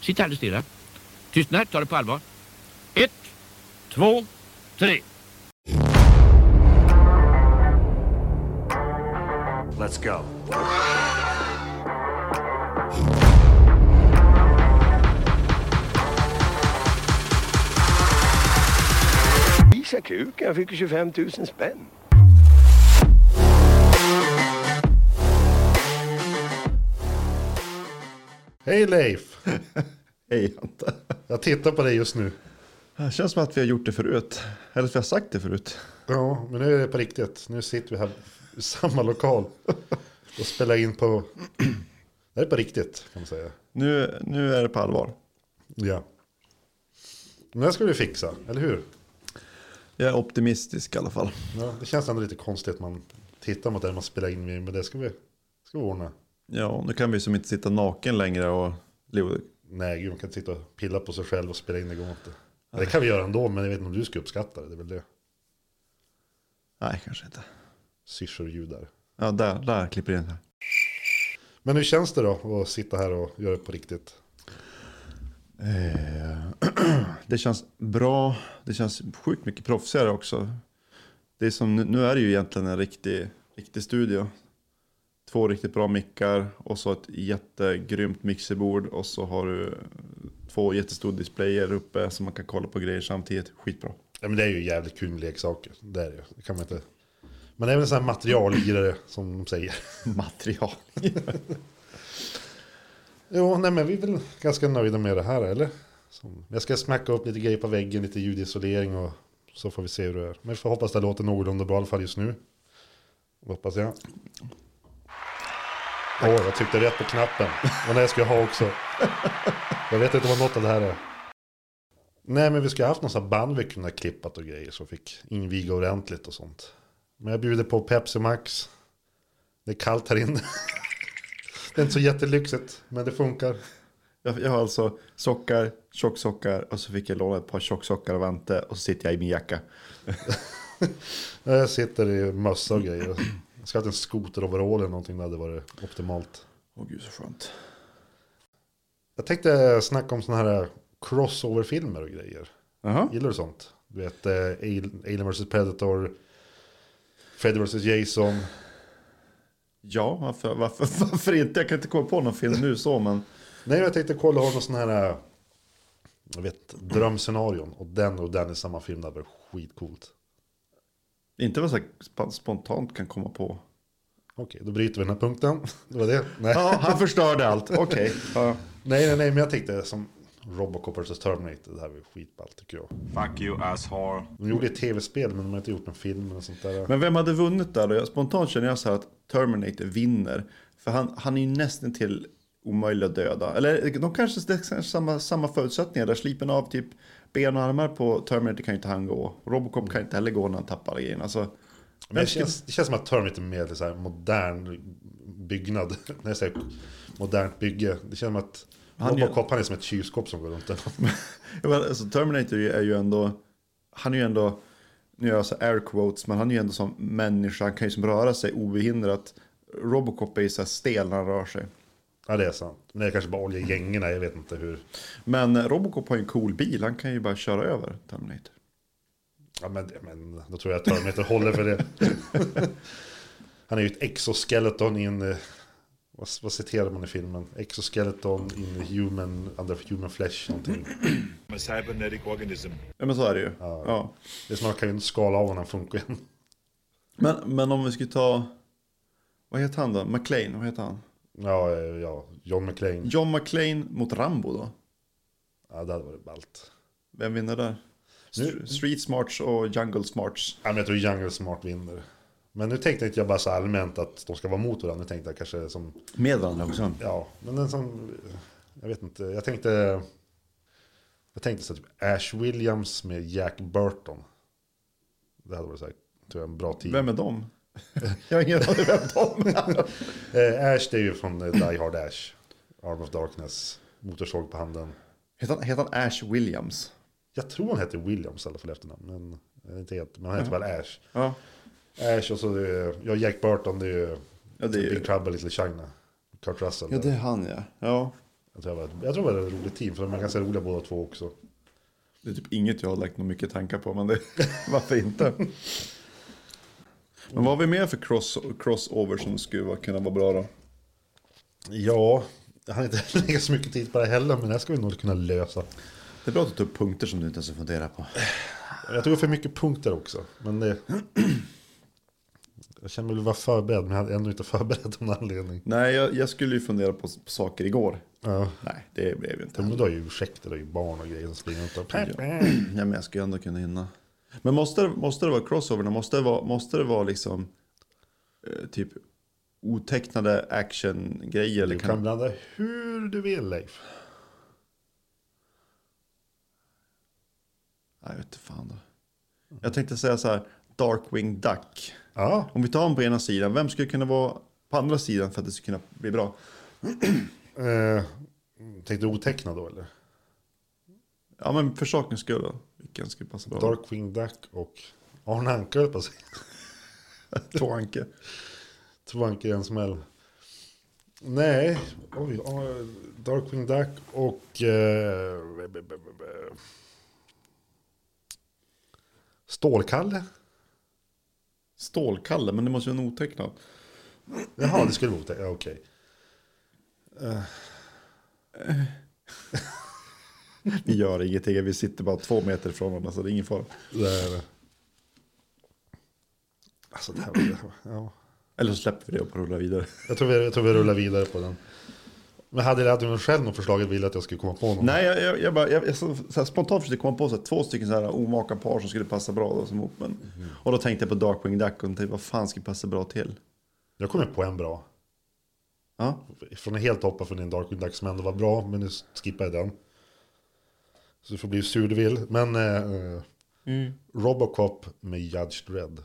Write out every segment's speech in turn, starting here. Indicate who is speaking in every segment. Speaker 1: Sitt alldeles stilla. Tystnad, ta det på allvar. Ett, två, tre.
Speaker 2: Let's go.
Speaker 3: Visa kuken, jag fick ju 25 000 spänn.
Speaker 4: Hej Leif!
Speaker 5: Hej Ante.
Speaker 4: Jag tittar på dig just nu.
Speaker 5: Det känns som att vi har gjort det förut. Eller att vi har sagt det förut.
Speaker 4: Ja, men nu är det på riktigt. Nu sitter vi här i samma lokal och spelar in på... Det här är på riktigt kan man säga.
Speaker 5: Nu, nu är det på allvar.
Speaker 4: Ja. Men det här ska vi fixa, eller hur?
Speaker 5: Jag är optimistisk i alla fall.
Speaker 4: Ja, det känns ändå lite konstigt att man tittar mot det man spelar in med, men det ska vi, ska vi ordna.
Speaker 5: Ja, nu kan vi som inte sitta naken längre och... Leo,
Speaker 4: Nej, gud, man kan inte sitta och pilla på sig själv och spela in, det går inte. Det kan vi göra ändå, men jag vet inte om du ska uppskatta det. Det är väl det.
Speaker 5: Nej, kanske inte.
Speaker 4: Syrsor och ljud där.
Speaker 5: Ja, där, där klipper jag in här.
Speaker 4: Men hur känns det då att sitta här och göra det på riktigt?
Speaker 5: Eh, Det känns bra. Det känns sjukt mycket proffsigare också. Det är som, nu är det ju egentligen en riktig, riktig studio. Två riktigt bra mickar och så ett jättegrymt mixerbord. Och så har du två jättestora displayer uppe så man kan kolla på grejer samtidigt. Skitbra.
Speaker 4: Ja, men det är ju jävligt kul med leksaker. Det är det ju. Det kan man inte... Man är väl en sån här materiallirare som de säger.
Speaker 5: Material.
Speaker 4: Jo, nej men vi är väl ganska nöjda med det här, eller? Som, jag ska smacka upp lite grejer på väggen, lite ljudisolering och så får vi se hur det är. Men vi får hoppas det låter någorlunda bra i alla fall just nu. Hoppas jag. Åh, jag tryckte rätt på knappen. Och det ska jag ha också. Jag vet inte vad något av det här är. Nej, men vi ska ha haft någon sån här band vi kunde ha klippat och grejer så fick inviga ordentligt och sånt. Men jag bjuder på Pepsi Max. Det är kallt här inne. Det är inte så jättelyxigt, men det funkar.
Speaker 5: Jag, jag har alltså sockar, tjocksockar och så fick jag låna ett par tjocksockar av Ante och så sitter jag i min jacka.
Speaker 4: Ja, Jag sitter i mössa och grejer. Jag ska ha haft en skoteroverall eller någonting, det hade varit optimalt.
Speaker 5: Åh gud så skönt.
Speaker 4: Jag tänkte snacka om sådana här crossover-filmer och grejer.
Speaker 5: Jaha.
Speaker 4: Gillar du sånt? Du vet, eh, Al- Alien vs Predator, Freddy vs Jason.
Speaker 5: Ja, varför, varför, varför inte? Jag kan inte komma på någon film nu så, men
Speaker 4: Nej, jag tänkte kolla, har du någon sån här, eh, jag vet, drömscenarion? Och den och den i samma film, det hade varit skitcoolt.
Speaker 5: inte vad jag sp- spontant kan komma på.
Speaker 4: Okej, då bryter vi den här punkten. Det var det. Nej.
Speaker 5: Ja, han förstörde allt. Okej. Ja.
Speaker 4: nej, nej, nej, men jag tänkte som Robocop vs Terminator, det här var skitballt tycker jag.
Speaker 2: Fuck you, asshole.
Speaker 4: De gjorde ett tv-spel men de har inte gjort en film eller sånt där.
Speaker 5: Men vem hade vunnit där då? Jag- Spontant känner jag så här att Terminator vinner. För han, han är ju nästan till omöjlig att döda. Eller de kanske det är kanske samma, samma förutsättningar. Där slipen av typ ben och armar på Terminator kan ju inte han gå. Robocop kan inte heller gå när han tappar grejen. Alltså,
Speaker 4: Men det,
Speaker 5: vem skulle-
Speaker 4: känns, det känns som att Terminator är mer så här modern byggnad. När jag säger modernt bygge. Det känns som att
Speaker 5: Han
Speaker 4: han
Speaker 5: gör-
Speaker 4: Robocop han är som ett kylskåp som går runt. där.
Speaker 5: Ja, men alltså, Terminator är ju ändå, han är ju ändå, nu gör jag så air quotes, men han är ju ändå som människa, han kan ju som röra sig obehindrat. Robocop är ju så här stel när han rör sig.
Speaker 4: ja det är sant. Men det är kanske bara oljegängorna, jag vet inte hur.
Speaker 5: Men eh, Robocop har ju en cool bil, han kan ju bara köra över Terminator.
Speaker 4: Ja men, men då tror jag att Terminator håller för det. han är ju ett exoskeleton i en... eh, Vad, vad citerar man i filmen? Exoskeleton in human, under human flesh någonting.
Speaker 2: I'm a cybernetic organism.
Speaker 5: Ja men så är det ju. Ja.
Speaker 4: Det är som att man kan ju skala av honom, han funkar ju.
Speaker 5: Men, men om vi skulle ta, vad heter han då? McLean, vad heter han?
Speaker 4: Ja, eh, ja, John McClane.
Speaker 5: John McLean mot Rambo då?
Speaker 4: Ja, det hade varit ballt.
Speaker 5: Vem vinner där? St- Street Smarts och Jungle Smarts.
Speaker 4: Ja, men jag tror Jungle Smart vinner. Men nu tänkte inte jag bara så allmänt att de ska vara mot varandra. Nu tänkte jag kanske som,
Speaker 5: Med varandra också.
Speaker 4: ja, men en sån, jag vet inte. Jag tänkte, jag tänkte så här, typ Ash Williams med Jack Burton. Det hade varit så här, tror jag, en bra tid.
Speaker 5: Vem är de? jag har ingen aning vem de är.
Speaker 4: Eh, Ash, det är ju från eh, Die Hard Ash. Arm of Darkness, motorsåg på handen.
Speaker 5: Heter han, heter han Ash Williams?
Speaker 4: Jag tror han heter Williams i alla fall i efternamn, men jag är inte helt, men han heter väl Ash.
Speaker 5: Ja.
Speaker 4: Ash och så det är, ja, Jack Burton, det är ju
Speaker 5: Ja, det är ju-
Speaker 4: Big Trouble Little China. Kurt Russell.
Speaker 5: ja, det är han ja. ja.
Speaker 4: Jag tror det var, jag tror det var ett roligt team, för de är ganska roliga båda två också.
Speaker 5: Det är typ inget jag har lagt något mycket tankar på, men det, varför inte? Men vad har vi mer för cross, crossover som skulle vara- kunna vara bra då?
Speaker 4: Ja, jag hann inte lägga så mycket tid på det heller, men det här ska vi nog kunna lösa.
Speaker 5: Det är bra att du tar upp punkter som du inte ens har funderat på.
Speaker 4: Jag tog för mycket punkter också, men det... Jag känner mig vara förberedd, men jag hade ändå inte förberett av någon anledning.
Speaker 5: Nej, jag, jag skulle ju fundera på, på saker igår.
Speaker 4: Ja.
Speaker 5: Nej, det blev ju inte.
Speaker 4: Men du har ju ursäkter, du har ju barn och grejer som springer runt och...
Speaker 5: Ja, men jag ska ju ändå kunna hinna. Men måste, det- måste det vara crossoverna? Måste det vara, måste det vara liksom eh, typ otecknade actiongrejer? liksom? Eller
Speaker 4: Du kan
Speaker 5: kan,
Speaker 4: blanda hur du vill, Leif.
Speaker 5: jag vet inte fan då. Jag tänkte säga så här, Darkwing Duck.
Speaker 4: Ja,
Speaker 5: Om vi tar honom på ena sidan, vem skulle kunna vara på andra sidan för att det skulle kunna bli bra?
Speaker 4: eh, tänkte du otecknad då eller?
Speaker 5: Ja, men för sakens skull då. Vilken skulle passa bra?
Speaker 4: Darkwing Duck och Arne Anka höll på sig.
Speaker 5: Två Anke.
Speaker 4: Två ankor i en smäll. Nej, oj, ja, Darkwing Duck och... Eh, b- b- b- b- Stålkalle?
Speaker 5: Stålkalle, men det måste ju vara en otecknad.
Speaker 4: Jaha, det skulle vara otecknat. Ja, Okej.
Speaker 5: Vi gör ingenting, vi sitter bara två meter från varandra så det är ingen fara.
Speaker 4: Där. Alltså, det här var... det här var- Ja.
Speaker 5: Eller så släpper vi det och rullar vidare.
Speaker 4: Jag, tror vi, jag tror vi rullar vidare på den. Men hade hade du själv något förslag att ville att jag skulle komma på någon?
Speaker 5: Nej, jag, jag, jag, bara, jag, jag så, så här, spontant försökte komma på så här, två stycken så här, omaka par som skulle passa bra då, som ihop. Men, Och då tänkte jag på Darkwing Duck och tänkte vad fan skulle passa bra till?
Speaker 4: Jag kom ju på en bra.
Speaker 5: Ja,
Speaker 4: Från en helt hoppa från din Darkwing Duck som ändå var bra, men nu skippar jag den. Så du får bli hur sur du vill. Men eh, Robocop med Judge Dredd.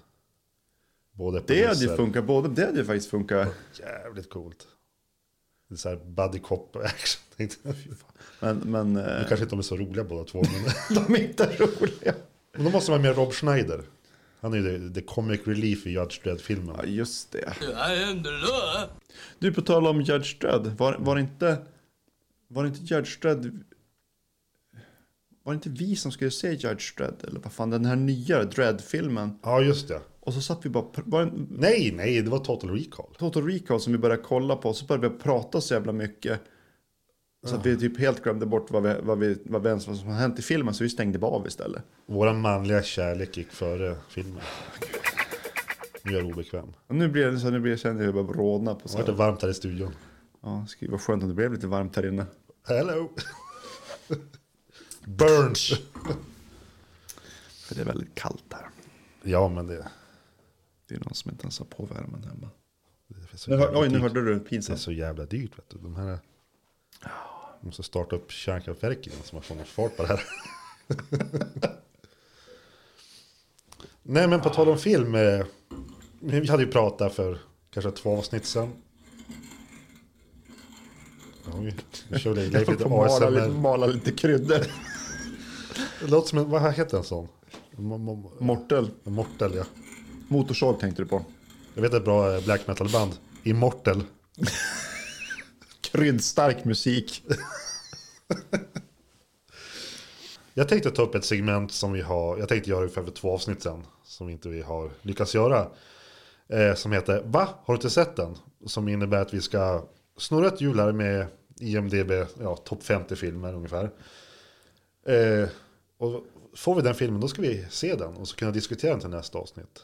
Speaker 4: Både
Speaker 5: det hade ju
Speaker 4: poliser-
Speaker 5: funkat, både, det hade ju faktiskt funkat.
Speaker 4: Jävligt coolt. Det är så här buddy cop action. Tänkte jag.
Speaker 5: Men, men
Speaker 4: Nu
Speaker 5: eh,
Speaker 4: kanske inte de är så roliga båda två. Men,
Speaker 5: de är inte roliga.
Speaker 4: men då måste man ha med Rob Schneider. Han är ju the, the comic relief i Judge Dredd-filmen.
Speaker 5: Ja, just det. Du, på tal om Judge Dredd, var, var det inte, var det inte Judge Dredd, var det inte vi som skulle se Judge Dredd? Eller vad fan, den här nya Dredd-filmen.
Speaker 4: Ja, just det.
Speaker 5: Och så satt vi bara, pr- var det en
Speaker 4: Nej, nej, det var Total Recall.
Speaker 5: Total Recall som vi började kolla på. Så började vi prata så jävla mycket. Så att vi typ helt glömde bort vad, vi, vad, vi, vad, vi ens, vad som har hänt i filmen. Så vi stängde bara av istället.
Speaker 4: Våra manliga kärlek gick före filmen. Nu är jag obekväm.
Speaker 5: Och nu blir det så här, nu blir jag känner jag hur jag bara rodnar på
Speaker 4: Det
Speaker 5: så
Speaker 4: har
Speaker 5: här.
Speaker 4: varit varmt här i studion.
Speaker 5: Ja, det var skönt om det blev lite varmt här inne.
Speaker 4: Hello! Burns!
Speaker 5: För det är väldigt kallt här.
Speaker 4: Ja, men det...
Speaker 5: Det är någon som inte ens har på värmen hemma. Alltså,
Speaker 4: det är så
Speaker 5: Nu hör,
Speaker 4: jävla
Speaker 5: oj, nu
Speaker 4: dyrt.
Speaker 5: hörde du
Speaker 4: Det är
Speaker 5: pinsamt.
Speaker 4: så jävla dyrt, vet du. De här... Måste starta upp kärnkraftverk innan så man får någon fart på det här. Nej, men på tal om film. eh, Vi hade ju pratat för kanske två avsnitt sedan. Ja, vi, vi kör lite,
Speaker 5: Jag
Speaker 4: Leif
Speaker 5: får
Speaker 4: lite
Speaker 5: mala lite,
Speaker 4: ASMR.
Speaker 5: mala lite kryddor.
Speaker 4: Det låter som en, vad heter en sån? Mo- mo-
Speaker 5: Mortel.
Speaker 4: Mortel, ja.
Speaker 5: Motorsåg tänkte du på.
Speaker 4: Jag vet ett bra eh, black metal-band. Immortal.
Speaker 5: Kryddstark musik.
Speaker 4: Jag tänkte ta upp ett segment som vi har, jag tänkte göra ungefär för två avsnitt sedan, som inte vi har lyckats göra. Eh, som heter Va? Har du inte sett den? Som innebär att vi ska snurra ett hjul här med IMDB, ja, topp 50 filmer ungefär. Eh, och får vi den filmen då ska vi se den och så kunna diskutera den till nästa avsnitt.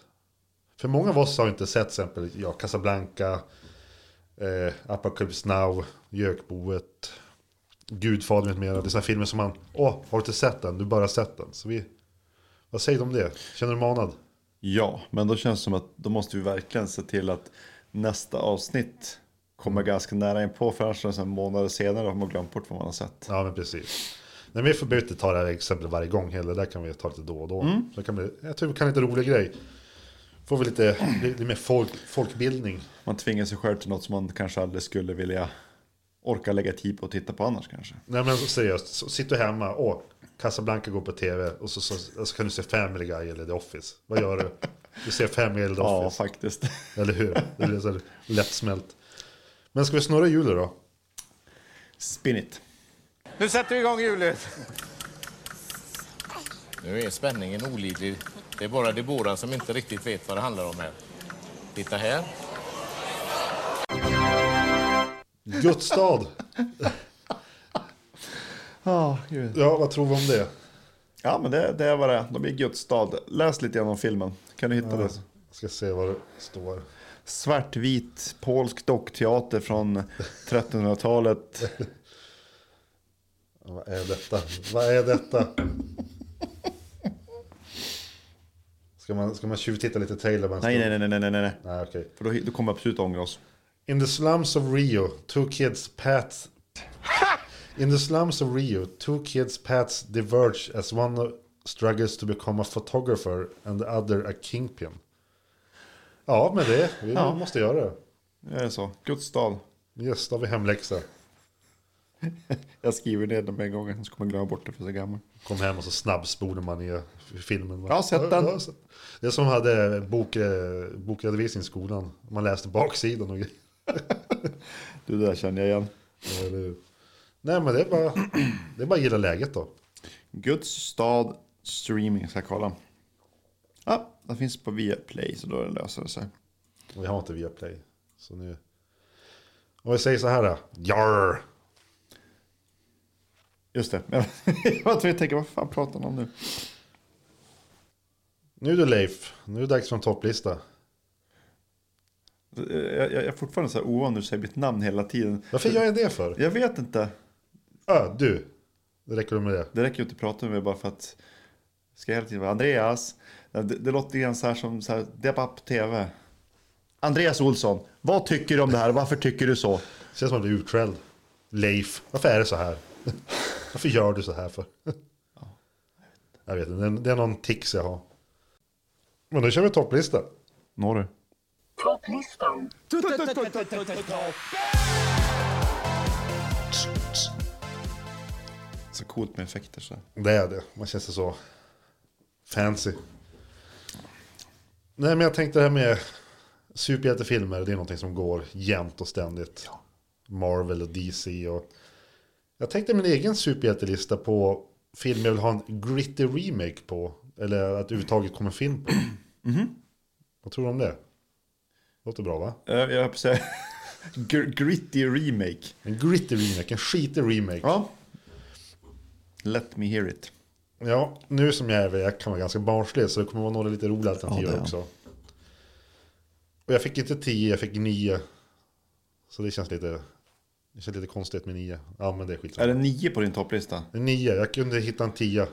Speaker 4: För många av oss har inte sett till exempel ja, Casablanca, eh, Apocalypse Now, Gökboet, Gudfadern med mera. Det är sådana filmer som man, åh, har du inte sett den? Du bara sett den. Så vi, vad säger du om det? Känner du manad?
Speaker 5: Ja, men då känns det som att då måste vi verkligen se till att nästa avsnitt kommer ganska nära inpå för annars är det så här månader senare har man glömt bort vad man har sett.
Speaker 4: Ja, men precis. Nej, men vi behöver inte ta det här exemplet varje gång heller. Där kan vi ta lite då och då. Så det kan bli, jag tror vi kan lite rolig grej. Får vi lite, lite mer folk, folkbildning.
Speaker 5: Man tvingar sig själv till något som man kanske aldrig skulle vilja orka lägga tid på att titta på annars kanske.
Speaker 4: Nej men seriöst, så sitter du hemma och Casablanca går på tv och så, så, så kan du se Family Guy eller The Office. Vad gör du? Du ser Family eller The
Speaker 5: Ja,
Speaker 4: Office.
Speaker 5: faktiskt.
Speaker 4: Eller hur? Det blir så här lättsmält. Men ska vi snurra hjulet då?
Speaker 5: Spin it.
Speaker 6: Nu sätter vi igång hjulet.
Speaker 7: Nu är spänningen olidlig. Det är bara Deborah som inte riktigt vet vad det handlar om här. Titta här.
Speaker 4: Gudstad.
Speaker 5: Ja, Ah, gud.
Speaker 4: Ja, vad tror vi om det?
Speaker 5: Ja, men det, det är vad det är. De är i Guds stad. Läs lite grann om filmen. Kan du hitta det?
Speaker 4: Jag ska se vad det står.
Speaker 5: Svartvit polsk dockteater från 1300-talet.
Speaker 4: Ja, Vad är detta? Vad är detta? Ska man, ska man tjuvtitta lite trailer? bara en
Speaker 5: Nej,
Speaker 4: stund?
Speaker 5: nej, nej, nej, nej, nej, nej.
Speaker 4: nej okej.
Speaker 5: För då, då kommer jag absolut ångra oss.
Speaker 4: In the slums of Rio, two kids paths. In the slums of Rio, two kids paths diverge as one struggles to become a photographer and the other a kingpin. Ja, med det. Vi
Speaker 5: Ja.
Speaker 4: måste göra det.
Speaker 5: Nu är det så. Guds stad.
Speaker 4: Yes, då har vi hemläxa.
Speaker 5: Jag skriver ner den med en gång, så kommer jag glömma bort det för så gammal.
Speaker 4: Kom hem och så snabbspolade man i filmen.
Speaker 5: Jag har sett den.
Speaker 4: Ja, så- Det är som man hade bok, eh, bokredovisning i skolan. Man läste baksidan och grejer.
Speaker 5: Du, det där känner jag igen.
Speaker 4: Ja, eller hur? Nej, men det är bara, det är bara att gilla läget då.
Speaker 5: Guds stad streaming ska jag kolla. Ja, den finns på Viaplay så då löser det sig.
Speaker 4: Och jag har inte Viaplay. Så nu... Om vi säger så här då. Jarr!
Speaker 5: Just det. Jag var tvungen att tänka, vad fan pratar han om nu?
Speaker 4: Nu du Leif, nu är det dags för en topplista.
Speaker 5: Eh, Jag, jag, jag är fortfarande så här ovan när du säger mitt namn hela tiden.
Speaker 4: Varför gör jag det för?
Speaker 5: Jag vet inte.
Speaker 4: Ö, du. Det räcker med det.
Speaker 5: Det räcker ju inte att prata med mig bara för att ska jag hela tiden vara Andreas. Eh, Det, det låter lite grann så här som så här, det är bara på tv. Andreas Olsson, vad tycker du om det här? Varför tycker du så?
Speaker 4: Känns som att jag blir utskälld. Leif, varför är det så här? Varför gör du så här för? Jag vet inte, det är, det är någon tics jag har. Men nu kör vi topplista.
Speaker 5: Når du? Så coolt med effekter så. Eh, här.
Speaker 4: Det är det, man känner sig så fancy. Nej men jag tänkte det här med superhjältefilmer, det är någonting som går jämt och ständigt. Marvel och DC och... Jag tänkte min egen superhjältelista på film jag vill ha en gritty remake på. Eller att överhuvudtaget kommer en film på. Vad tror du om det? Låter bra va?
Speaker 5: Eh, Jag höll på att säga gr- gritty remake.
Speaker 4: En gritty remake, en skitig remake.
Speaker 5: Ja. Let me hear it.
Speaker 4: Ja, nu som jag är, jag kan vara ganska barnslig så det kommer vara några lite roliga alternativ
Speaker 5: Ja, det är.
Speaker 4: också. Och jag fick inte 10, jag fick 9. Så det känns lite, det känns lite konstigt med 9. Ja, men det är
Speaker 5: Är
Speaker 4: skitsamma.
Speaker 5: det nio på din topplista?
Speaker 4: Det är 9, jag kunde hitta en 10.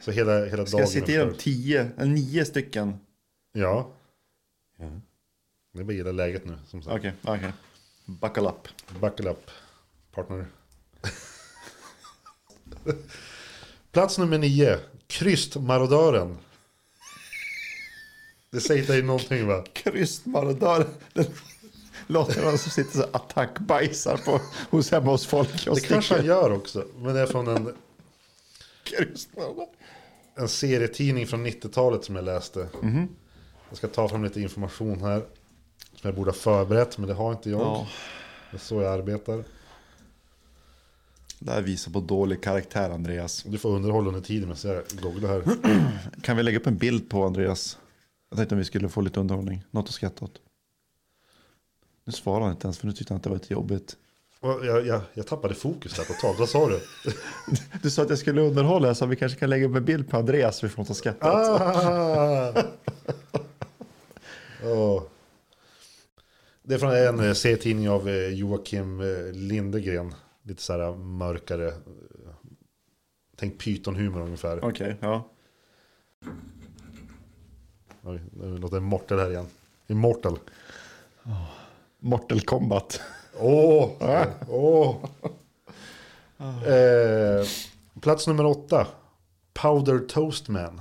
Speaker 4: Så hela, hela
Speaker 5: Ah. Ska
Speaker 4: dagen.
Speaker 5: jag citera tio, eh, nio stycken?
Speaker 4: Ja. Det är bara att gilla läget nu, som sagt.
Speaker 5: Okej, okej. Buckle up.
Speaker 4: Buckle up, partner. Plats nummer nio, krystmarodören. Det säger dig någonting va?
Speaker 5: Krystmarodör. Den låter någon som sitter så här attackbajsar på, hos hemma hos folk. Och
Speaker 4: Det kanske han gör också, men det är från en,
Speaker 5: Krystmarodör.
Speaker 4: en serietidning från 90-talet som jag läste.
Speaker 5: Mhm.
Speaker 4: Jag ska ta fram lite information här som jag borde ha förberett, men det har inte jag.
Speaker 5: Ja.
Speaker 4: Det är så jag arbetar.
Speaker 5: Det här visar på dålig karaktär, Andreas.
Speaker 4: Du får underhålla under tiden medan jag googlar här.
Speaker 5: Kan vi lägga upp en bild på Andreas? Jag tänkte om vi skulle få lite underhållning. Något att skratta åt. Nu svarar han inte ens, för nu tyckte han att det var lite jobbigt.
Speaker 4: Och Jag, jag, jag tappade fokus där totalt, vad sa du?
Speaker 5: Du sa att jag skulle underhålla, jag sa att vi kanske kan lägga upp en bild på Andreas så vi får något att skratta åt.
Speaker 4: Ah! Åh. Det är från en eh, serietidning av eh, Joakim eh, Lindegren. Lite så här mörkare. eh, Tänk Python-humor ungefär.
Speaker 5: Okej, ja.
Speaker 4: Oj, nu låter det Mortal här igen. Immortal.
Speaker 5: Mortal Kombat.
Speaker 4: Åh! Åh! Eh, plats nummer åtta. Powder Toast Man.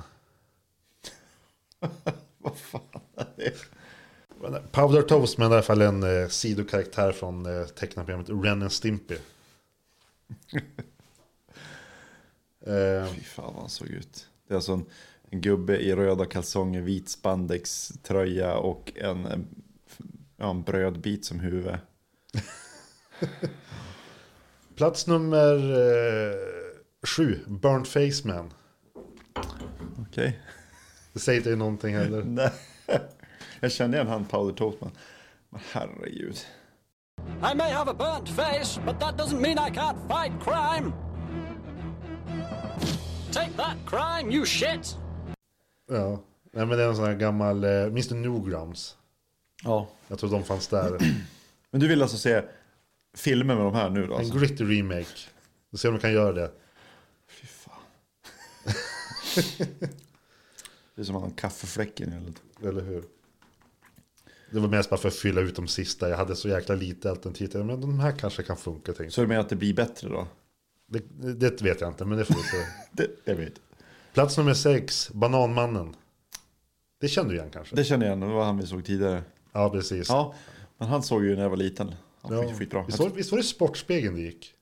Speaker 5: Vad fan är det?
Speaker 4: Powder Toast Man är i alla fall en eh, sidokaraktär från eh, tecknarprogrammet Ren and Stimpy. eh,
Speaker 5: Fy fan vad han såg ut. Det är alltså en, en gubbe i röda kalsonger, vit spandex tröja och en, en, ja, en brödbit som huvud.
Speaker 4: Plats nummer eh, sju, Burnt Face Man.
Speaker 5: Okej.
Speaker 4: Det säger inte någonting heller.
Speaker 5: Nej. Jag kände igen han Powder Toast man. Men herregud.
Speaker 8: I may have a burnt face, but that doesn't mean I can't fight crime. Take that, crime, you shit!
Speaker 4: Ja. Nej, men det är en sån här gammal, eh, minns du Newgrounds?
Speaker 5: Ja.
Speaker 4: Jag tror de fanns där.
Speaker 5: Men du vill alltså se filmer med de här nu då? Alltså?
Speaker 4: En gritty remake. Vi ser om de kan göra det.
Speaker 5: Fy fan. det är som han har kaffefläcken eller
Speaker 4: Eller hur? Det var mest bara för att fylla ut de sista. Jag hade så jäkla lite alternativ. till det, Men de här kanske kan funka. Tänkte.
Speaker 5: Så du menar att det blir bättre då?
Speaker 4: jag. Det, det vet jag inte, men det får vi se.
Speaker 5: Det, jag vet.
Speaker 4: Plats nummer sex, Bananmannen. Det känner du igen kanske?
Speaker 5: Det känner jag igen, det var han vi såg tidigare.
Speaker 4: Ja, precis.
Speaker 5: Ja, men han såg ju när jag var liten. Han
Speaker 4: Ja.
Speaker 5: ja. skitbra.
Speaker 4: Visst, var, visst var det Sportspegeln det gick?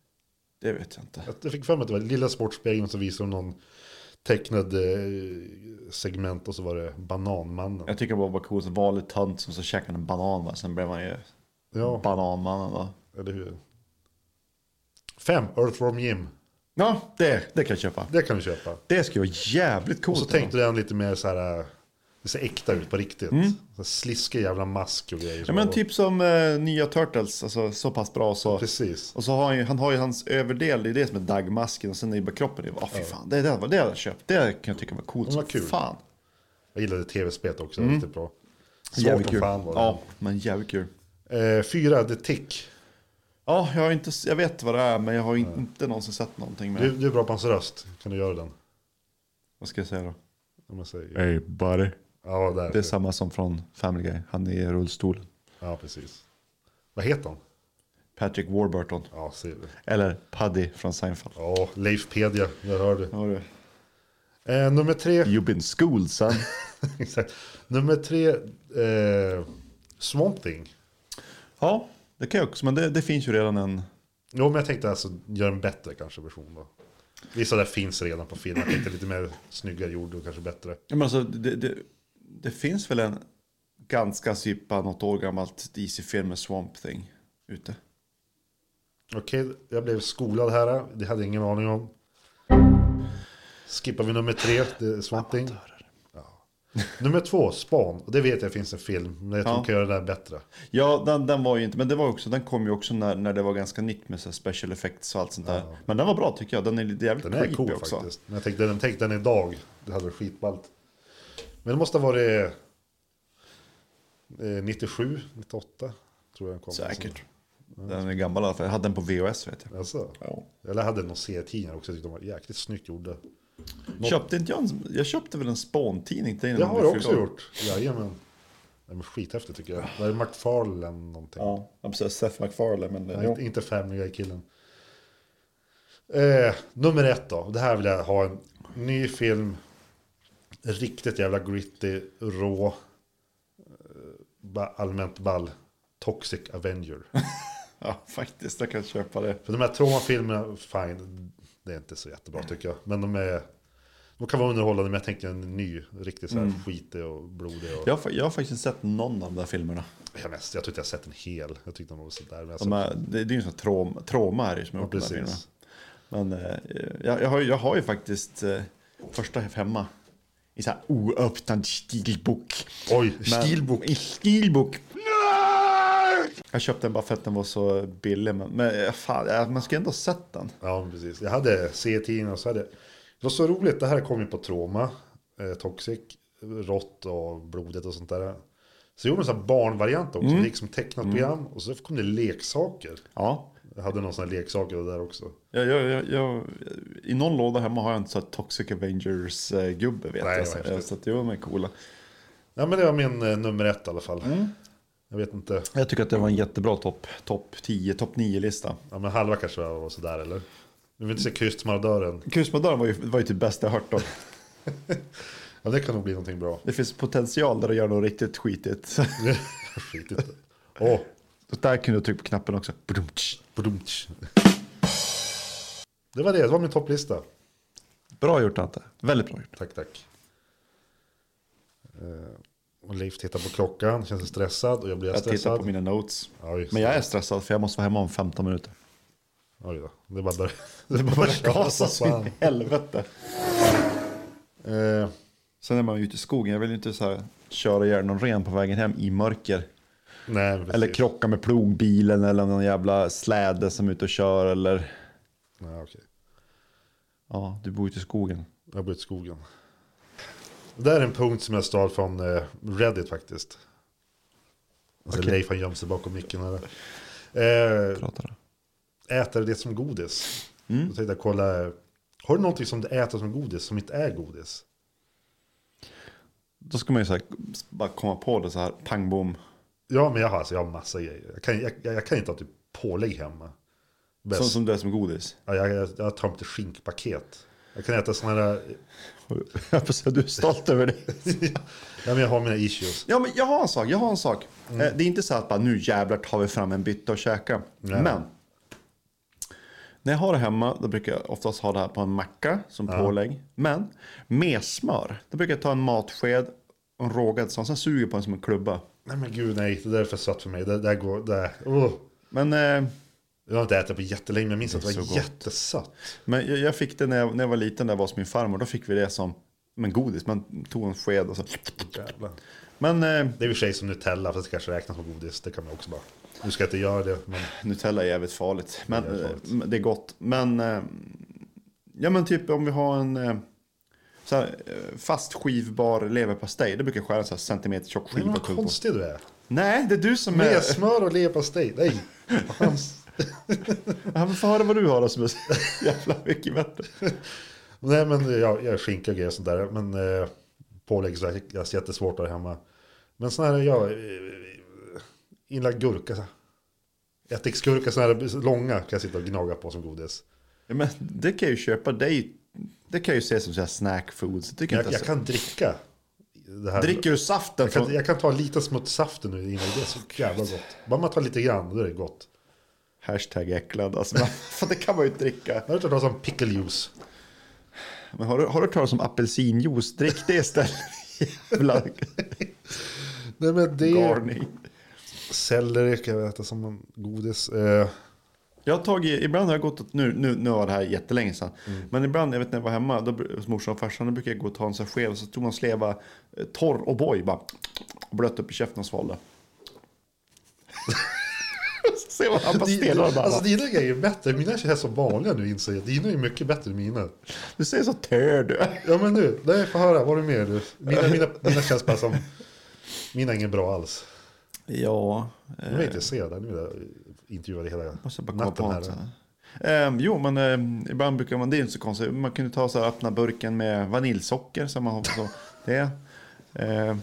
Speaker 5: Det vet jag inte.
Speaker 4: Jag- Jag fick för mig att det var Lilla Sportspegeln som visade någon tecknad eh, segment och så var det Bananmannen.
Speaker 5: Jag tycker bara det var coolt, en vanlig tant som så käkade en banan va? sen blev man ju
Speaker 4: Ja,
Speaker 5: bananmannen då.
Speaker 4: eller hur? Fem, Earthworm Jim.
Speaker 5: Ja, det, det kan jag köpa.
Speaker 4: Det kan vi köpa.
Speaker 5: Det skulle vara jävligt coolt.
Speaker 4: Och så tänkte den lite mer så här, eh, det ser äkta ut på riktigt. Så sliskig jävla mask och grejer.
Speaker 5: Mm. Ja, men typ som eh, nya Turtles, alltså så pass bra så.
Speaker 4: Precis.
Speaker 5: Och så har han, ju, han har ju hans överdel, det är det som är Dagmasken och sen är det bara kroppen. Det, är bara, "Ah, fy fan, det, det, hade- det hade jag köpt, det kan jag tycka var coolt
Speaker 4: Det var
Speaker 5: som
Speaker 4: kul.
Speaker 5: fan.
Speaker 4: Jag gillade tv-spelet också, mm. riktigt bra. Svårt
Speaker 5: Jävligt
Speaker 4: som
Speaker 5: kul.
Speaker 4: fan var det.
Speaker 5: Ja, men jävligt kul.
Speaker 4: Eh, fyra, The Tick.
Speaker 5: Ja, jag, har inte, jag vet vad det är men jag har in- inte någonsin sett någonting med
Speaker 4: Du, du är bra på hans röst, kan du göra den?
Speaker 5: Vad ska jag säga då?
Speaker 4: Om jag säger.
Speaker 5: Hey buddy.
Speaker 4: Ja, där.
Speaker 5: Det är samma som från Family Guy, han är i rullstol.
Speaker 4: Ja, precis. Vad heter han?
Speaker 5: Patrick Warburton.
Speaker 4: Ja, ser du.
Speaker 5: Eller Paddy från Seinfeld.
Speaker 4: Ja, Leif Pedia, där hör du.
Speaker 5: Ja, du.
Speaker 4: Eh, nummer tre.
Speaker 5: You've been schooled son.
Speaker 4: Exakt. Nummer tre, eh, Swamp Thing.
Speaker 5: ja, det kan jag också, men det, det finns ju redan en...
Speaker 4: Jo, men jag tänkte alltså göra en bättre kanske version då. Vissa där finns redan på film. Jag tänkte lite mer snyggare gjord och kanske bättre.
Speaker 5: Ja, Men alltså, det, det, det finns väl en ganska sippa något år gammalt DC-film med Swamp Thing ute?
Speaker 4: Okej, jag blev skolad här. Det hade jag ingen aning om. Skippar vi nummer tre, det är Swamp Thing. Ja. Nummer två, Span. Och det vet jag finns en film, men jag tror
Speaker 5: Ja.
Speaker 4: jag kan göra det där bättre.
Speaker 5: Ja, den, den var ju inte, men det var också, den kom ju också när, när det var ganska nytt med så här special effects och allt sånt där. Men den var bra tycker jag, den är lite jävligt
Speaker 4: Den är
Speaker 5: creepy
Speaker 4: cool
Speaker 5: också.
Speaker 4: faktiskt. Men jag tänkte den, tänkte den idag, det hade varit skitballt. Men det måste ha varit eh, 97, 98 tror jag den kom.
Speaker 5: Säkert. Den är gammal i alla fall, jag hade den på VHS vet jag.
Speaker 4: Alltså.
Speaker 5: Ja.
Speaker 4: Eller hade någon serietidningar också, jag tyckte de var jäkligt snyggt gjorda.
Speaker 5: Köpte inte jag en, jag köpte väl en Spawn-tidning till
Speaker 4: Det
Speaker 5: innan
Speaker 4: har
Speaker 5: vi
Speaker 4: jag
Speaker 5: fyllde
Speaker 4: också
Speaker 5: år.
Speaker 4: gjort. Jajamän. Det var skithäftigt tycker jag. Det är McFarlane någonting.
Speaker 5: Ja, jag precis, Seth MacFarlane men
Speaker 4: Nej,
Speaker 5: jo.
Speaker 4: inte, inte Family Guy-killen. Eh, nummer ett då. Det här vill jag ha en ny film. Riktigt jävla gritty, rå. Eh, bara allmänt ball. Toxic Avenger.
Speaker 5: ja, faktiskt, jag kan köpa det.
Speaker 4: För de här traumafilmerna, fine. Det är inte så jättebra tycker jag. Men de är... De kan vara underhållande, men jag tänkte en ny, riktigt så här skitig och blodig. Och,
Speaker 5: Jag, har fa- jag har faktiskt inte sett någon av de där filmerna.
Speaker 4: Jag, mest, jag tror inte jag sett en hel. Jag tyckte de var sådär. Men jag
Speaker 5: De
Speaker 4: såg-
Speaker 5: är, det, det är ju en sån här traum, trauma här som är
Speaker 4: ja,
Speaker 5: uppe i de här filmerna.
Speaker 4: precis.
Speaker 5: Men eh, jag, jag, har, ju- jag har ju faktiskt eh, första femma i så här oöppnad stilbok.
Speaker 4: Oj,
Speaker 5: Men-
Speaker 4: Steelbook.
Speaker 5: I stilbok. Jag köpte den bara för att den var så billig. Men, men eh, fan, eh, man ska ändå ha sett den.
Speaker 4: Ja, men precis. Jag hade C-tidningen och så hade... Det var så roligt. Det här kom ju på Troma, eh, Toxic, Rått och Blodet och sånt där. Så gjorde de en sån här barnvariant också. Det gick som tecknat program och så kom det leksaker.
Speaker 5: Ja.
Speaker 4: Jag hade någon sån här leksaker där också.
Speaker 5: Jag, jag, jag, jag, I någon låda hemma har jag en sån här Toxic Avengers-gubbe vet
Speaker 4: Nej, det var
Speaker 5: jag. Så, eh,
Speaker 4: häftigt.
Speaker 5: så att de är coola.
Speaker 4: Ja, men det var min eh, nummer ett i alla fall. Jag vet inte.
Speaker 5: Jag tycker att det var en jättebra topp top 10, topp 9-lista.
Speaker 4: Ja, men halva kanske var sådär eller? Du vill inte se Kustmarodören?
Speaker 5: Kusmadörren var ju, var ju typ bäst jag hört om.
Speaker 4: Ja, det kan nog bli någonting bra.
Speaker 5: Det finns potential där att göra något riktigt skitigt.
Speaker 4: Skit i det. Åh,
Speaker 5: Så där kunde du trycka på knappen också. Badumtsch.
Speaker 4: brumtsch. Det var det, det var min topplista.
Speaker 5: Bra gjort Ante. Väldigt bra gjort.
Speaker 4: Tack, tack. Eh, och Leif tittar på klockan, känns stressad och jag blir
Speaker 5: Jag
Speaker 4: stressad.
Speaker 5: tittar på mina notes.
Speaker 4: Ja, just
Speaker 5: Men jag
Speaker 4: det.
Speaker 5: är stressad för jag måste vara hemma om 15 minuter.
Speaker 4: Oj då. Det är bara börjar. Det är bara börjar
Speaker 5: Gasa
Speaker 4: gasa
Speaker 5: så in
Speaker 4: fan.
Speaker 5: i helvete.
Speaker 4: Eh,
Speaker 5: Sen är man ju ute i skogen. Jag vill ju inte så här köra ihjäl någon ren på vägen hem i mörker.
Speaker 4: nej, precis.
Speaker 5: Eller krocka med plogbilen eller någon jävla släde som är ute och kör. Eller
Speaker 4: Nej, okej.
Speaker 5: ja, du bor ute i skogen.
Speaker 4: Jag bor i skogen. Det här är en punkt som jag stal från eh, Reddit faktiskt. Alltså
Speaker 5: Okej.
Speaker 4: Leif han gömmer sig bakom micken. Här. Eh,
Speaker 5: Pratar.
Speaker 4: äter det som godis?
Speaker 5: Mm.
Speaker 4: Då tänkte jag kolla. eh, Har du någonting som du äter som godis som inte är godis?
Speaker 5: Då ska man ju så här, bara komma på det så här, pang bom.
Speaker 4: Ja, men jag har, alltså, jag har massa grejer. Jag kan, jag, jag kan inte ha typ pålägg hemma. Bäst.
Speaker 5: Sånt som det är som godis.
Speaker 4: Ja, jag, jag, jag tar inte skinkpaket. Jag kan äta sådana där...
Speaker 5: Jag får säga, du är stolt över det.
Speaker 4: ja, men jag har mina issues.
Speaker 5: Ja, men jag har en sak. Jag har en sak. Eh, Det är inte så att bara, nu jävlar tar vi fram en bytta och käka. Men. När jag har det hemma, då brukar jag oftast ha det här på en macka som pålägg. Men med smör, då brukar jag ta en matsked, en rågad sån, sen suger jag på den som en klubba.
Speaker 4: Nej men gud nej, det där är för sött för mig. Det där går... Det, där- oh.
Speaker 5: Men, eh,
Speaker 4: Jag har inte ätit på jättelänge, men jag minns att det
Speaker 5: är
Speaker 4: var
Speaker 5: så gott.
Speaker 4: jättesött.
Speaker 5: men jag, jag fick det när jag, när jag var liten, när jag var hos min farmor. Då fick vi det som men godis. Man tog en sked och så.
Speaker 4: Jävlar.
Speaker 5: Men eh,
Speaker 4: Det är i och för sig som Nutella, fast det kanske räknas som godis. Det kan man också bara... Nu ska jag inte göra det, men...
Speaker 5: Nutella är jävligt farligt. Men
Speaker 4: Det är
Speaker 5: det är,
Speaker 4: farligt.
Speaker 5: Det är gott. Men, eh, ja men typ om vi har en eh, så här, eh, fast skivbar leverpastej. Det brukar jag skära en så här centimeter tjock
Speaker 4: Men
Speaker 5: skiva.
Speaker 4: vad
Speaker 5: och kugga på.
Speaker 4: konstig du är.
Speaker 5: Nej, det är du som är...
Speaker 4: Med smör och leverpastej. Nej.
Speaker 5: Ja, men Få höra vad du har då som är så jävla mycket bättre.
Speaker 4: Nej men jag, jag skinka och grejer och sånt där. Men eh, pålägg så här, jag har jättesvårt att ha hemma. Men sån här, jag... eh, Inlagd gurka. så här. Ättiksgurka, sån här långa kan jag sitta och gnaga på som godis.
Speaker 5: Ja, men det kan jag ju köpa dig. Det kan jag ju se som så här snack food. Så tycker jag,
Speaker 4: Jag,
Speaker 5: inte
Speaker 4: jag
Speaker 5: jag
Speaker 4: kan dricka. Det här.
Speaker 5: Dricker du saften
Speaker 4: Jag kan,
Speaker 5: från...
Speaker 4: jag kan ta lite smuts saften nu innan det är så jävla gott. Bara man tar lite grann, då är det gott.
Speaker 5: Hashtag äcklad. Alltså, men, fan, det kan man ju inte dricka.
Speaker 4: Jag har hört talas om pickle juice.
Speaker 5: Men har du, har du hört talas om apelsinjuice? Drick det istället. Jävla
Speaker 4: Nej men det är
Speaker 5: garning.
Speaker 4: selleri kan jag äta som en godis. Eh,
Speaker 5: Jag har tagit, ibland har jag gått, och- nu, nu, nu var det här jättelänge sedan, men ibland jag vet när jag var hemma då, br- hos morsan och farsan, då brukar jag gå och ta en sån här sked och så tog man sleva eh, torr och boj bara och blöt upp i käften och svalde. Så ser man han bara stelnar och bara.
Speaker 4: alltså dina grejer är bättre. Mina känns som vanliga nu inser jag. Dina är mycket bättre än mina.
Speaker 5: du ser så tör du.
Speaker 4: Ja men nu, nej få höra. Vad har du mer du? Mina, mina, mina känns bara som... Mina är ingen bra alls.
Speaker 5: Ja.
Speaker 4: Nu är jag intresserad. Nu är jag intervjuad hela
Speaker 5: Måste bara komma
Speaker 4: natten
Speaker 5: på
Speaker 4: här.
Speaker 5: något. så här. Ehm, jo, men ehm, ibland brukar man, det är inte så konstigt, man kunde ta så här, öppna burken med vaniljsocker som man har så. Det. Ehm,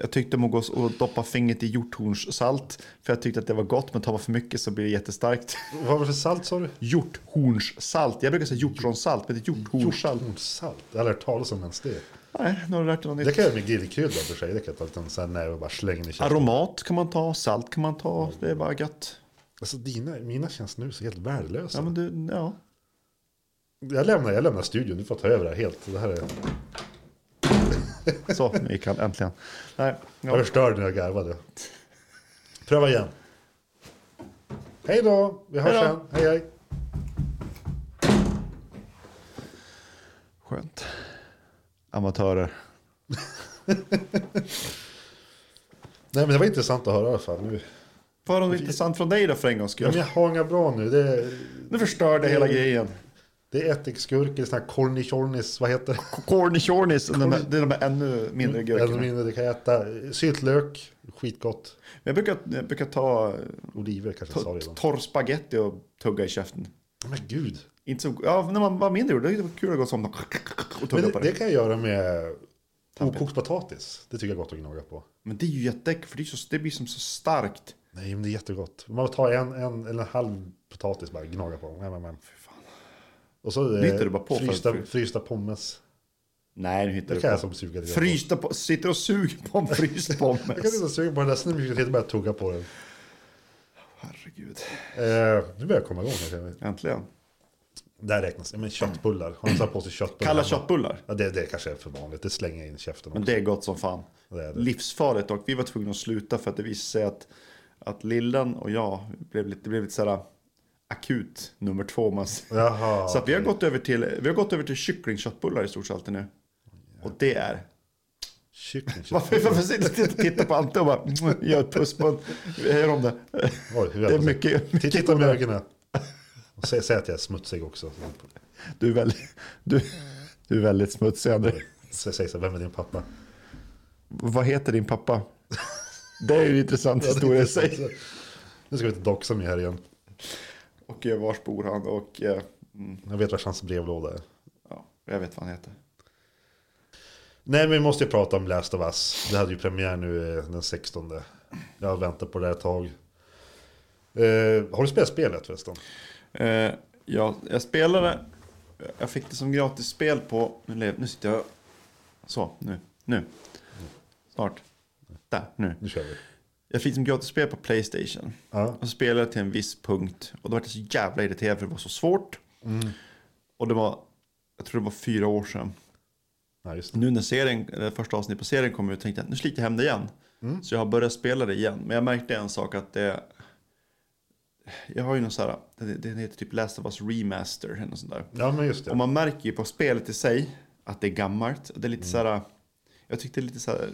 Speaker 5: jag tyckte om att gå och doppa fingret i hjorthornssalt, för jag tyckte att det var gott, men tar man för mycket så blir det jättestarkt.
Speaker 4: Vad var det för salt sa du?
Speaker 5: Hjorthornssalt, jag brukar säga hjortronsalt, men det är hjorthornssalt.
Speaker 4: Hjortonsalt? Jag har aldrig hört talas om ens det.
Speaker 5: Nej, nu har du lärt dig något
Speaker 4: Det
Speaker 5: nytt.
Speaker 4: kan jag göra med grillkrydda för sig. Det kan jag ta lite sån här näve och bara slänga in i käften.
Speaker 5: Aromat kan man ta, salt kan man ta, det är bara gött.
Speaker 4: Alltså dina, mina känns nu så helt värdelösa.
Speaker 5: Ja, men du, ja.
Speaker 4: jag, lämnar, jag lämnar studion, du får ta över det här helt. Det här är,
Speaker 5: Så, Mikael, äntligen. Nej, ja.
Speaker 4: jag förstörde när jag garvade. Pröva igen. Hej då, vi hörs
Speaker 5: Hej då.
Speaker 4: sen. Hej hej.
Speaker 5: Skönt. Amatörer.
Speaker 4: Nej men det var intressant att höra i alla fall. Nu,
Speaker 5: Vad har de intressant från dig då för en gångs
Speaker 4: ja,
Speaker 5: skull?
Speaker 4: men Mm. jag har inga bra nu. Det är,
Speaker 5: Nu förstörde jag hela grejen.
Speaker 4: det är ättiksgurkor, såna här cornichornis, vad heter det?
Speaker 5: Corny Chornies, de här- det är de här ännu mindre gurkorna.
Speaker 4: Mm, Ännu mindre, det kan jag äta. Syltlök, skitgott.
Speaker 5: Jag brukar, jag brukar ta eh,
Speaker 4: Oliver kanske jag sa
Speaker 5: to-
Speaker 4: redan.
Speaker 5: torr spaghetti och tugga i käften.
Speaker 4: Men gud.
Speaker 5: Inte så, ja, när man var mindre gjorde det det var kul att gå som och
Speaker 4: Men
Speaker 5: tugga
Speaker 4: det,
Speaker 5: på
Speaker 4: det
Speaker 5: det.
Speaker 4: kan jag göra med okokt potatis. Det tycker jag är gott att gnaga på.
Speaker 5: Men det är ju jätteäckligt för det, är så, det blir som så starkt.
Speaker 4: Nej, men det är jättegott. Man tar en, en eller en halv potatis bara gnaga på. Nej, men, men. Och så eh,
Speaker 5: Nyter du bara på för-
Speaker 4: frysta,
Speaker 5: för-
Speaker 4: frysta pommes.
Speaker 5: Nej, nu hittar
Speaker 4: Det
Speaker 5: du
Speaker 4: kan
Speaker 5: på.
Speaker 4: jag som suger lite grann på.
Speaker 5: Frysta på, sitter och suger på en fryst
Speaker 4: Jag kan
Speaker 5: pommes.
Speaker 4: inte suga på den där snubben, jag bara tugga på den.
Speaker 5: Herregud.
Speaker 4: Eh, nu börjar jag komma igång. här, känner jag.
Speaker 5: Äntligen.
Speaker 4: Där räknas det. Men köttbullar. Har du satt på sig köttbullar?
Speaker 5: Kalla
Speaker 4: hemma?
Speaker 5: köttbullar.
Speaker 4: Ja, det, det kanske är för vanligt. Det slänger jag in i käften.
Speaker 5: Men
Speaker 4: också.
Speaker 5: det är gott som fan.
Speaker 4: Det är det.
Speaker 5: Livsfarligt och vi var tvungna att sluta för att det visade sig att, att lillen och jag blev lite, det blev lite såhär akut nummer två. Man säger.
Speaker 4: Jaha.
Speaker 5: Så att vi, har gått över till, vi har gått över till kycklingköttbullar i stort sett alltid nu. Och det är...
Speaker 4: Kycklingkött.
Speaker 5: Varför, varför sitter du och tittar på Ante och bara mm, gör ett puss på en- Gör om det.
Speaker 4: Oj, hur
Speaker 5: Det är mycket.
Speaker 4: Titta, titta med ögonen. Och säg, säg att jag är smutsig också.
Speaker 5: Du är väldigt, du, du är väldigt smutsig André.
Speaker 4: Säg, säg så, här, vem är din pappa?
Speaker 5: Vad heter din pappa? Det är ju en intressant historia i sig.
Speaker 4: Nu ska vi till doxa mig här igen.
Speaker 5: Och eh, vars bor han? Och eh, mm,
Speaker 4: Jag vet vars hans brevlåda är.
Speaker 5: ja, jag vet vad han heter.
Speaker 4: Nej, men vi måste ju prata om Last of Us. Det hade ju premiär nu eh, den 16. Jag har väntat på det här ett tag. Eh, har du spelat spelet förresten?
Speaker 5: Eh, ja, jag spelade, jag fick det som gratisspel på, nu, lev, nu sitter jag, så, nu, nu, snart, där, nu.
Speaker 4: Nu kör vi.
Speaker 5: Jag fick det som gratisspel på Playstation.
Speaker 4: Ja.
Speaker 5: Och så spelade jag till en viss punkt och då var jag så jävla irriterad för det var så svårt. Och det var, jag tror det var fyra år sedan.
Speaker 4: Nej, just det.
Speaker 5: Nu när serien, eller första avsnittet på serien kom ut tänkte jag nu sliter jag hem det igen.
Speaker 4: Mm.
Speaker 5: Så jag har börjat spela det igen. Men jag märkte en sak att det... Jag har ju någon så här, det, det heter typ Last of Us Remaster eller något sånt där.
Speaker 4: Ja, men just det.
Speaker 5: Och man märker ju på spelet i sig att det är gammalt. Det är
Speaker 4: Mm.
Speaker 5: lite så här, jag tyckte det är lite så här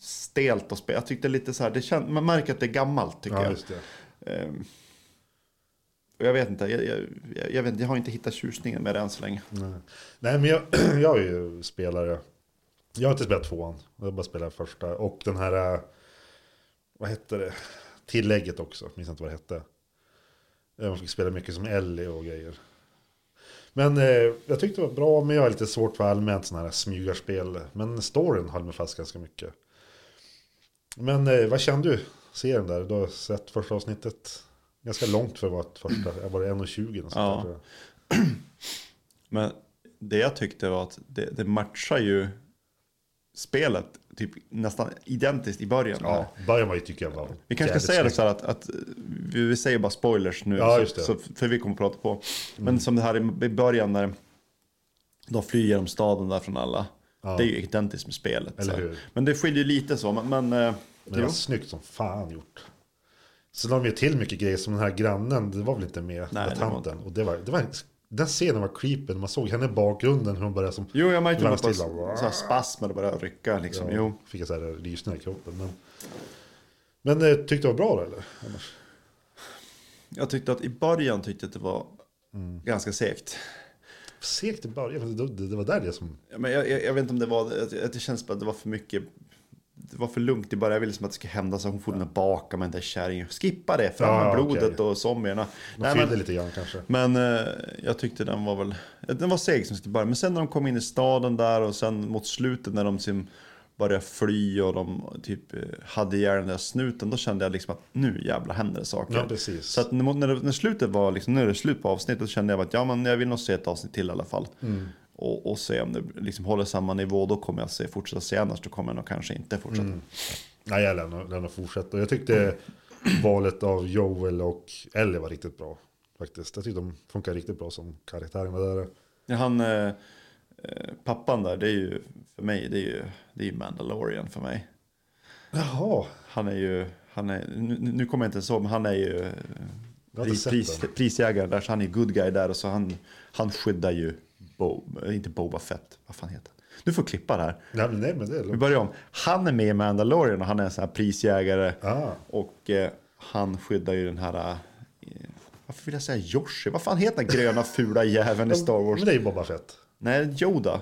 Speaker 5: stelt att spela. Jag tyckte lite så här, det kän, man märker att det är gammalt tycker
Speaker 4: Ja,
Speaker 5: jag.
Speaker 4: just det.
Speaker 5: Ehm, och jag vet inte, jag, jag, jag, jag, vet, inte, jag har inte hittat tjusningen med det än så länge.
Speaker 4: Nej, men jag, jag är ju spelare. Jag har inte spelat tvåan. Jag har bara spelat första. Och den här, eh, vad hette det? Tillägget också. Minns inte vad det hette. Eh, Man fick spela mycket som Ellie och grejer. Men eh, jag tyckte det var bra, men jag är lite svårt för allmänt sådana här smygarspel. Men storyn höll mig fast ganska mycket. Men eh, vad kände du? Serien där, du har sett första avsnittet. Ganska långt för att vara ett första. Jag var 1,20 eller sånt
Speaker 5: Ja.
Speaker 4: där, tror jag.
Speaker 5: Men det jag tyckte var att det, det matchar ju spelet typ nästan identiskt i början.
Speaker 4: Ja, början var ju tycker jag var
Speaker 5: Vi kanske
Speaker 4: jävligt
Speaker 5: ska säga det
Speaker 4: snygg.
Speaker 5: så här att, att vi, vi säger bara spoilers nu.
Speaker 4: Ja,
Speaker 5: så,
Speaker 4: just det. Mm.
Speaker 5: Så, för vi kommer att prata på. Men som det här i- i början när de flyr genom staden där från alla. Det är ju identiskt med spelet.
Speaker 4: Eller
Speaker 5: så.
Speaker 4: hur?
Speaker 5: Men det skiljer ju lite så. Men, men, eh,
Speaker 4: Men det
Speaker 5: jo.
Speaker 4: var snyggt som fan gjort. Så la de ju till mycket grejer som den här grannen, det var väl inte med,
Speaker 5: Nej,
Speaker 4: med
Speaker 5: det var
Speaker 4: tanten. Och det var, det var, den scenen var creepy, när man såg henne i bakgrunden hur hon började som...
Speaker 5: jo, jag märkte att det
Speaker 4: glansstilla.
Speaker 5: var så här spasmer och började rycka. Liksom.
Speaker 4: Ja,
Speaker 5: Jo.
Speaker 4: Fick jag så här rysningar i kroppen. Men, men eh, tyckte du det var bra då, eller? Annars?
Speaker 5: Jag tyckte att i början tyckte jag att det var
Speaker 4: Mm.
Speaker 5: ganska segt.
Speaker 4: Segt i början, men det, det, det var där det som...
Speaker 5: Ja, Men jag, jag, jag vet inte om det var, att- att det känns bara att det var för mycket. Det var för lugnt i början. Jag ville som att det skulle hända så hon for ja. baka med den där kärringen. Skippa det, fram med
Speaker 4: Ja, okej.
Speaker 5: blodet och zombierna.
Speaker 4: De
Speaker 5: Nej,
Speaker 4: fyllde
Speaker 5: men,
Speaker 4: lite grann kanske.
Speaker 5: men eh, jag tyckte den var väl, den var seg som skulle börja. Men sen när de kom in i staden där och sen mot slutet när de sim började fly och de typ eh, hade ihjäl den där snuten. Då kände jag liksom att nu jävla händer det saker.
Speaker 4: Ja, precis.
Speaker 5: Så att när, när, det- när slutet var liksom, nu är det slut på avsnittet. Då kände jag att ja, men jag vill nog se ett avsnitt till i alla fall.
Speaker 4: Mm.
Speaker 5: Och, och se om det liksom håller samma nivå. Då kommer jag se, fortsätta se. Annars då kommer jag nog kanske inte fortsätta.
Speaker 4: Mm. Nej, jag lär nog- lär nog fortsätta. Och Jag tyckte valet av Joel och Ellie var riktigt bra. Faktiskt. Jag tyckte de funkar riktigt bra som karaktärerna där.
Speaker 5: Ja, Han, eh, eh, pappan där, det är ju för mig, det är ju, det är ju Mandalorian för mig.
Speaker 4: Jaha,
Speaker 5: Han är ju, han är, nu, nu kommer jag inte ens ihåg, men han är ju eh,
Speaker 4: Jag har inte
Speaker 5: pris,
Speaker 4: sett
Speaker 5: pris,
Speaker 4: den.
Speaker 5: prisjägare där, så han är good guy där och så han, han skyddar ju, Bo, eh, inte Boba Fett, vad fan heter han? Du får klippa det här.
Speaker 4: nej men, nej, men det är
Speaker 5: Vi
Speaker 4: lugnt.
Speaker 5: börjar om. Han är med i Mandalorian och han är en sån här prisjägare.
Speaker 4: Ah.
Speaker 5: Och eh, han skyddar ju den här, eh, varför vill jag säga Yoshi? Vad fan heter den gröna fula jäveln i Star Wars?
Speaker 4: Men det är ju Boba Fett.
Speaker 5: Nej, Yoda.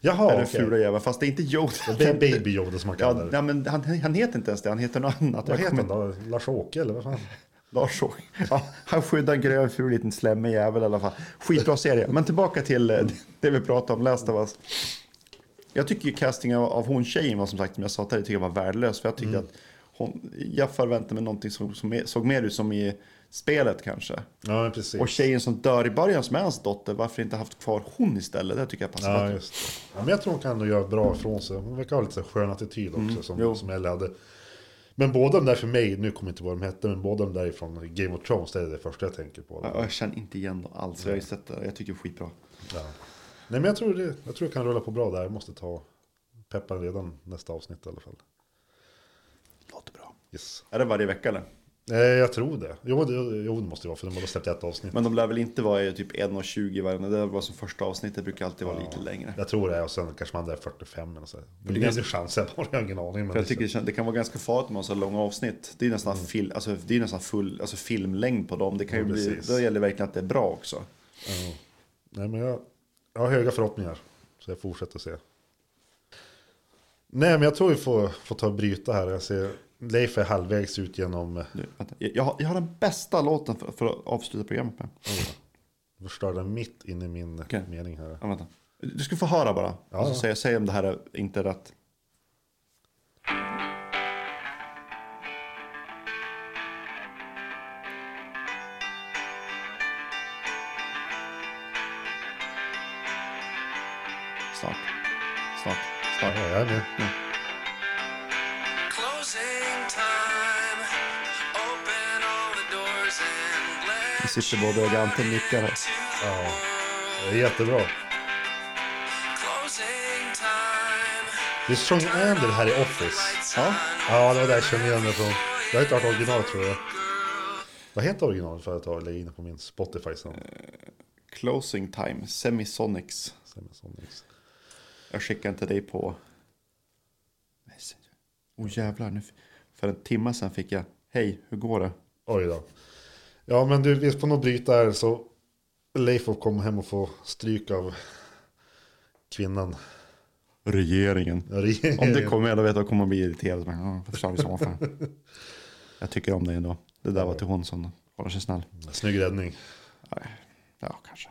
Speaker 4: Jaha,
Speaker 5: är den
Speaker 4: okej.
Speaker 5: fula jäveln, fast det är inte Yoda.
Speaker 4: Det är Baby Yoda som man
Speaker 5: Ja,
Speaker 4: kallar det.
Speaker 5: nej, men han, han heter inte ens det, han heter något annat.
Speaker 4: Vad
Speaker 5: Jag
Speaker 4: heter
Speaker 5: kommer
Speaker 4: han då? Lars-Åke eller vad fan?
Speaker 5: Lars Åke. ja, Han skyddar en grön ful liten slemmig jävel i alla fall. Skitbra serie. Men tillbaka till eh, det vi pratade om, Last of Us. Jag tycker ju castingen av, av hon tjejen var som sagt, som jag sa tidigare, tycker jag var värdelös. För jag tyckte att hon, jag förväntade mig någonting som, som är- såg mer ut som i spelet kanske.
Speaker 4: Ja, men precis.
Speaker 5: Och tjejen som dör i början som är hans dotter, varför inte haft kvar hon istället? Det tycker jag passar
Speaker 4: Ja,
Speaker 5: bättre.
Speaker 4: just det. Ja, men jag tror hon kan nog göra bra ifrån sig. Hon verkar ha lite så här skön attityd också som,
Speaker 5: Mm, jo.
Speaker 4: som Ellie hade. Men båda de där för mig, nu kommer jag inte ihåg vad de hette, men båda de där ifrån Game of Thrones, det är det första jag tänker på.
Speaker 5: Ja, Jag känner inte igen dem alls. Jag har ju sett det. Jag tycker det är skitbra.
Speaker 4: Nej men jag tror det, jag tror det kan rulla på bra där. Jag måste ta peppan redan nästa avsnitt i alla fall.
Speaker 5: Låter bra.
Speaker 4: Yes.
Speaker 5: Är det varje vecka eller?
Speaker 4: Nej, jag tror det. Jo, det, jo, det måste det vara för de har bara släppt ett avsnitt.
Speaker 5: Men de lär väl inte vara i typ 1.20 varje. Det var som första avsnittet brukar alltid vara lite längre.
Speaker 4: Jag tror det, och sen kanske man är 45 eller så. Det är ganska chansen, jag har ingen aning. Men
Speaker 5: För jag
Speaker 4: liksom-
Speaker 5: tycker det, kän- det kan vara ganska farligt med så här långa avsnitt. Det är nästan, fil, alltså, det är nästan full alltså, filmlängd på dem. Det, kan ju
Speaker 4: Mm. Ja,
Speaker 5: bli,
Speaker 4: precis.
Speaker 5: det gäller verkligen att det är bra också.
Speaker 4: Nej, men jag, jag har höga förhoppningar. Så jag fortsätter se. Nej, men jag tror vi får, får ta och bryta här. Jag ser Leif är halvvägs ut genom eh,
Speaker 5: Nu, vänta. Jag, jag, har, jag har den bästa låten för, för att avsluta programmet med.
Speaker 4: förstörda mitt in i min
Speaker 5: Okej.
Speaker 4: mening här.
Speaker 5: Ja, vänta. Du ska få höra bara. och så
Speaker 4: ja.
Speaker 5: säger säg om det här är inte är rätt. Snart. Snart. Snart.
Speaker 4: Ja, jag är med.
Speaker 5: Nu sitter både jag och Anton nickar här.
Speaker 4: Det är jättebra. Det är Strong Ander här i Office.
Speaker 5: Ja.
Speaker 4: Ja, det var där jag kände igen det från. Jag har inte hört originalet tror jag. Vad heter originalet för att jag lägger in det på min Spotify sen?
Speaker 5: Closing time. Semisonics.
Speaker 4: Samsonings.
Speaker 5: Jag skickade inte dig på... Messenger. Åh jävlar, nu... för en timme sedan fick jag... Hej, hur går det?
Speaker 4: Oj då. Ja, men du, vi får nog bryta här så Leif får komma hem och få stryk av kvinnan.
Speaker 5: Regeringen.
Speaker 4: Regeringen.
Speaker 5: Om det kommer, då vet jag att jag kommer bli irriterad. Men, ja, vad fan är det som var för? jag tycker om dig ändå. Det där var till hon som håller sig snäll.
Speaker 4: Snygg räddning.
Speaker 5: Ja, kanske.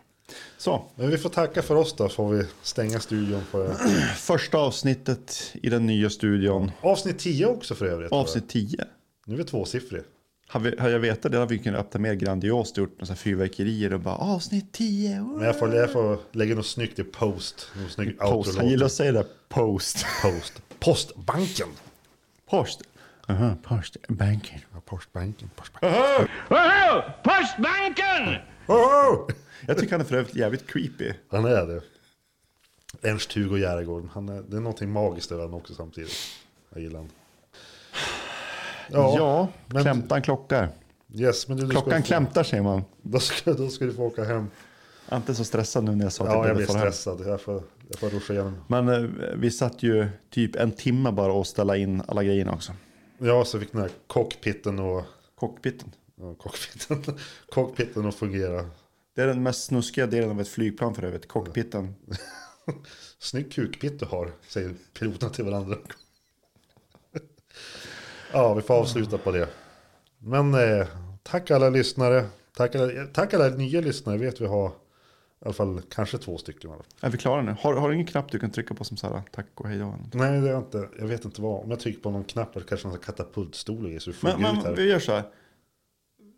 Speaker 5: Så,
Speaker 4: Men vi får tacka för oss då, får vi stänga studion på
Speaker 5: första avsnittet i den nya studion.
Speaker 4: Avsnitt 10 också för övrigt. tror jag.
Speaker 5: Avsnitt 10.
Speaker 4: Nu är vi tvåsiffrig.
Speaker 5: Har, vi, har jag vetat det hade vi kunnat öppna mer grandiost och gjort några så här fyrverkerier och bara avsnitt 10.
Speaker 4: Men jag får, jag får lägga något snyggt i post. Något snyggt
Speaker 5: Post.
Speaker 4: outro-låt.
Speaker 5: Han gillar att säga det. Post.
Speaker 4: post. Postbanken.
Speaker 5: Post. Aha, post. Banking.
Speaker 4: Ja, postbanken. postbanken.
Speaker 1: Oho! Postbanken!
Speaker 4: Oh!
Speaker 5: Jag tycker han är för övrigt jävligt creepy.
Speaker 4: Han är det. Ernst-Hugo Järegård. Han är, det är någonting magiskt över honom också samtidigt. Jag gillar han.
Speaker 5: Ja,
Speaker 4: men-
Speaker 5: klämtan klockar.
Speaker 4: Yes, men du, du ska
Speaker 5: Klockan
Speaker 4: få-
Speaker 5: klämtar säger man.
Speaker 4: Då ska, då ska du få åka hem.
Speaker 5: Inte så stressad nu när jag sa att
Speaker 4: Ja, jag
Speaker 5: behöver
Speaker 4: blir
Speaker 5: fara hem.
Speaker 4: stressad. Jag får, jag får ruscha igenom.
Speaker 5: Men eh, vi satt ju typ en timme bara och ställa in alla grejerna också.
Speaker 4: Ja, så fick den här cockpiten och...
Speaker 5: Cockpiten.
Speaker 4: ja, Cockpiten, cockpiten att fungera.
Speaker 5: Det är den mest snuskiga delen av ett flygplan för övrigt. Cockpiten.
Speaker 4: Snygg kukpitt du har, säger piloterna till varandra. Ja, vi får avsluta på det. Men eh, tack alla lyssnare. Tack alla, tack alla nya lyssnare. Jag vet vi har i alla fall kanske två stycken. i alla fall.
Speaker 5: Är vi klara nu? Har, har du ingen knapp du kan trycka på som så här tack och hej då? eller något?
Speaker 4: Nej, det är jag inte. Jag vet inte vad. Om jag trycker på någon knapp där kanske någon katapultstol och grejer så vi flyger
Speaker 5: Men,
Speaker 4: ut
Speaker 5: men
Speaker 4: här.
Speaker 5: vi gör så här.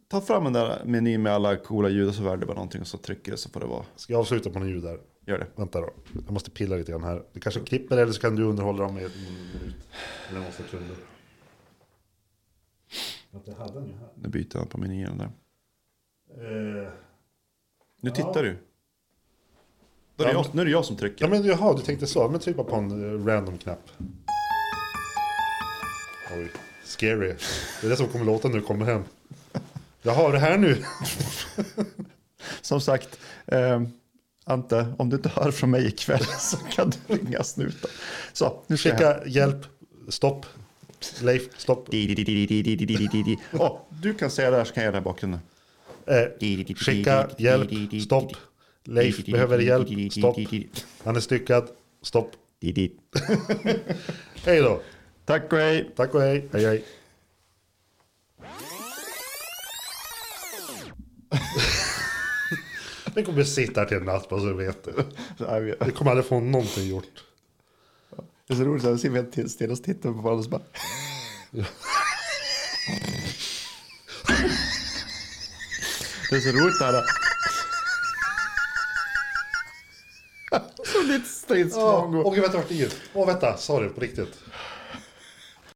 Speaker 5: Ta fram den där menyn med alla coola ljud och så värde bara någonting och så trycker det så får det vara.
Speaker 4: Ska jag avsluta på någon ljud där?
Speaker 5: Gör det.
Speaker 4: Vänta då. Jag måste pilla lite grann här. Du kanske klipper eller så kan du underhålla dem i en minut. Eller någon sekund. Vänta, jag hade den ju här.
Speaker 5: Nu byter jag på menyn där.
Speaker 4: Eh,
Speaker 5: Nu tittar du. Då är det
Speaker 4: Ja,
Speaker 5: jag, nu är det jag som trycker.
Speaker 4: Ja men jaha, du tänkte så. Men tryck bara på en eh, random knapp. Oj, scary. Det är det som kommer låta när du kommer hem. Jag har det här nu.
Speaker 5: Som sagt, eh, Ante, om du inte hör från mig ikväll så kan du ringa snuten. Så, nu ska jag hem.
Speaker 4: Skicka hjälp, stopp. Leif, stopp.
Speaker 5: Di, di, di, di, di, di, di, di, di, di. Åh, du kan säga det här så kan jag göra det här i bakgrunden.
Speaker 4: Eh, skicka hjälp, stopp. Leif behöver hjälp, stopp. Han är styckad, stopp.
Speaker 5: Di, di.
Speaker 4: Hej då.
Speaker 5: Tack och hej!
Speaker 4: Tack och hej. Hej hej. Den kommer sitta här till en natt, bara så du vet det.
Speaker 5: Nej, men-
Speaker 4: Vi kommer aldrig få någonting gjort.
Speaker 5: Det är så roligt, så här, så sitter vi helt till- stilla och tittar på varandra och så bara... Det är så roligt det här. Som ditt stridsfrågor.
Speaker 4: Åh, vänta, vart är det? Åh, vänta, sorry, på riktigt.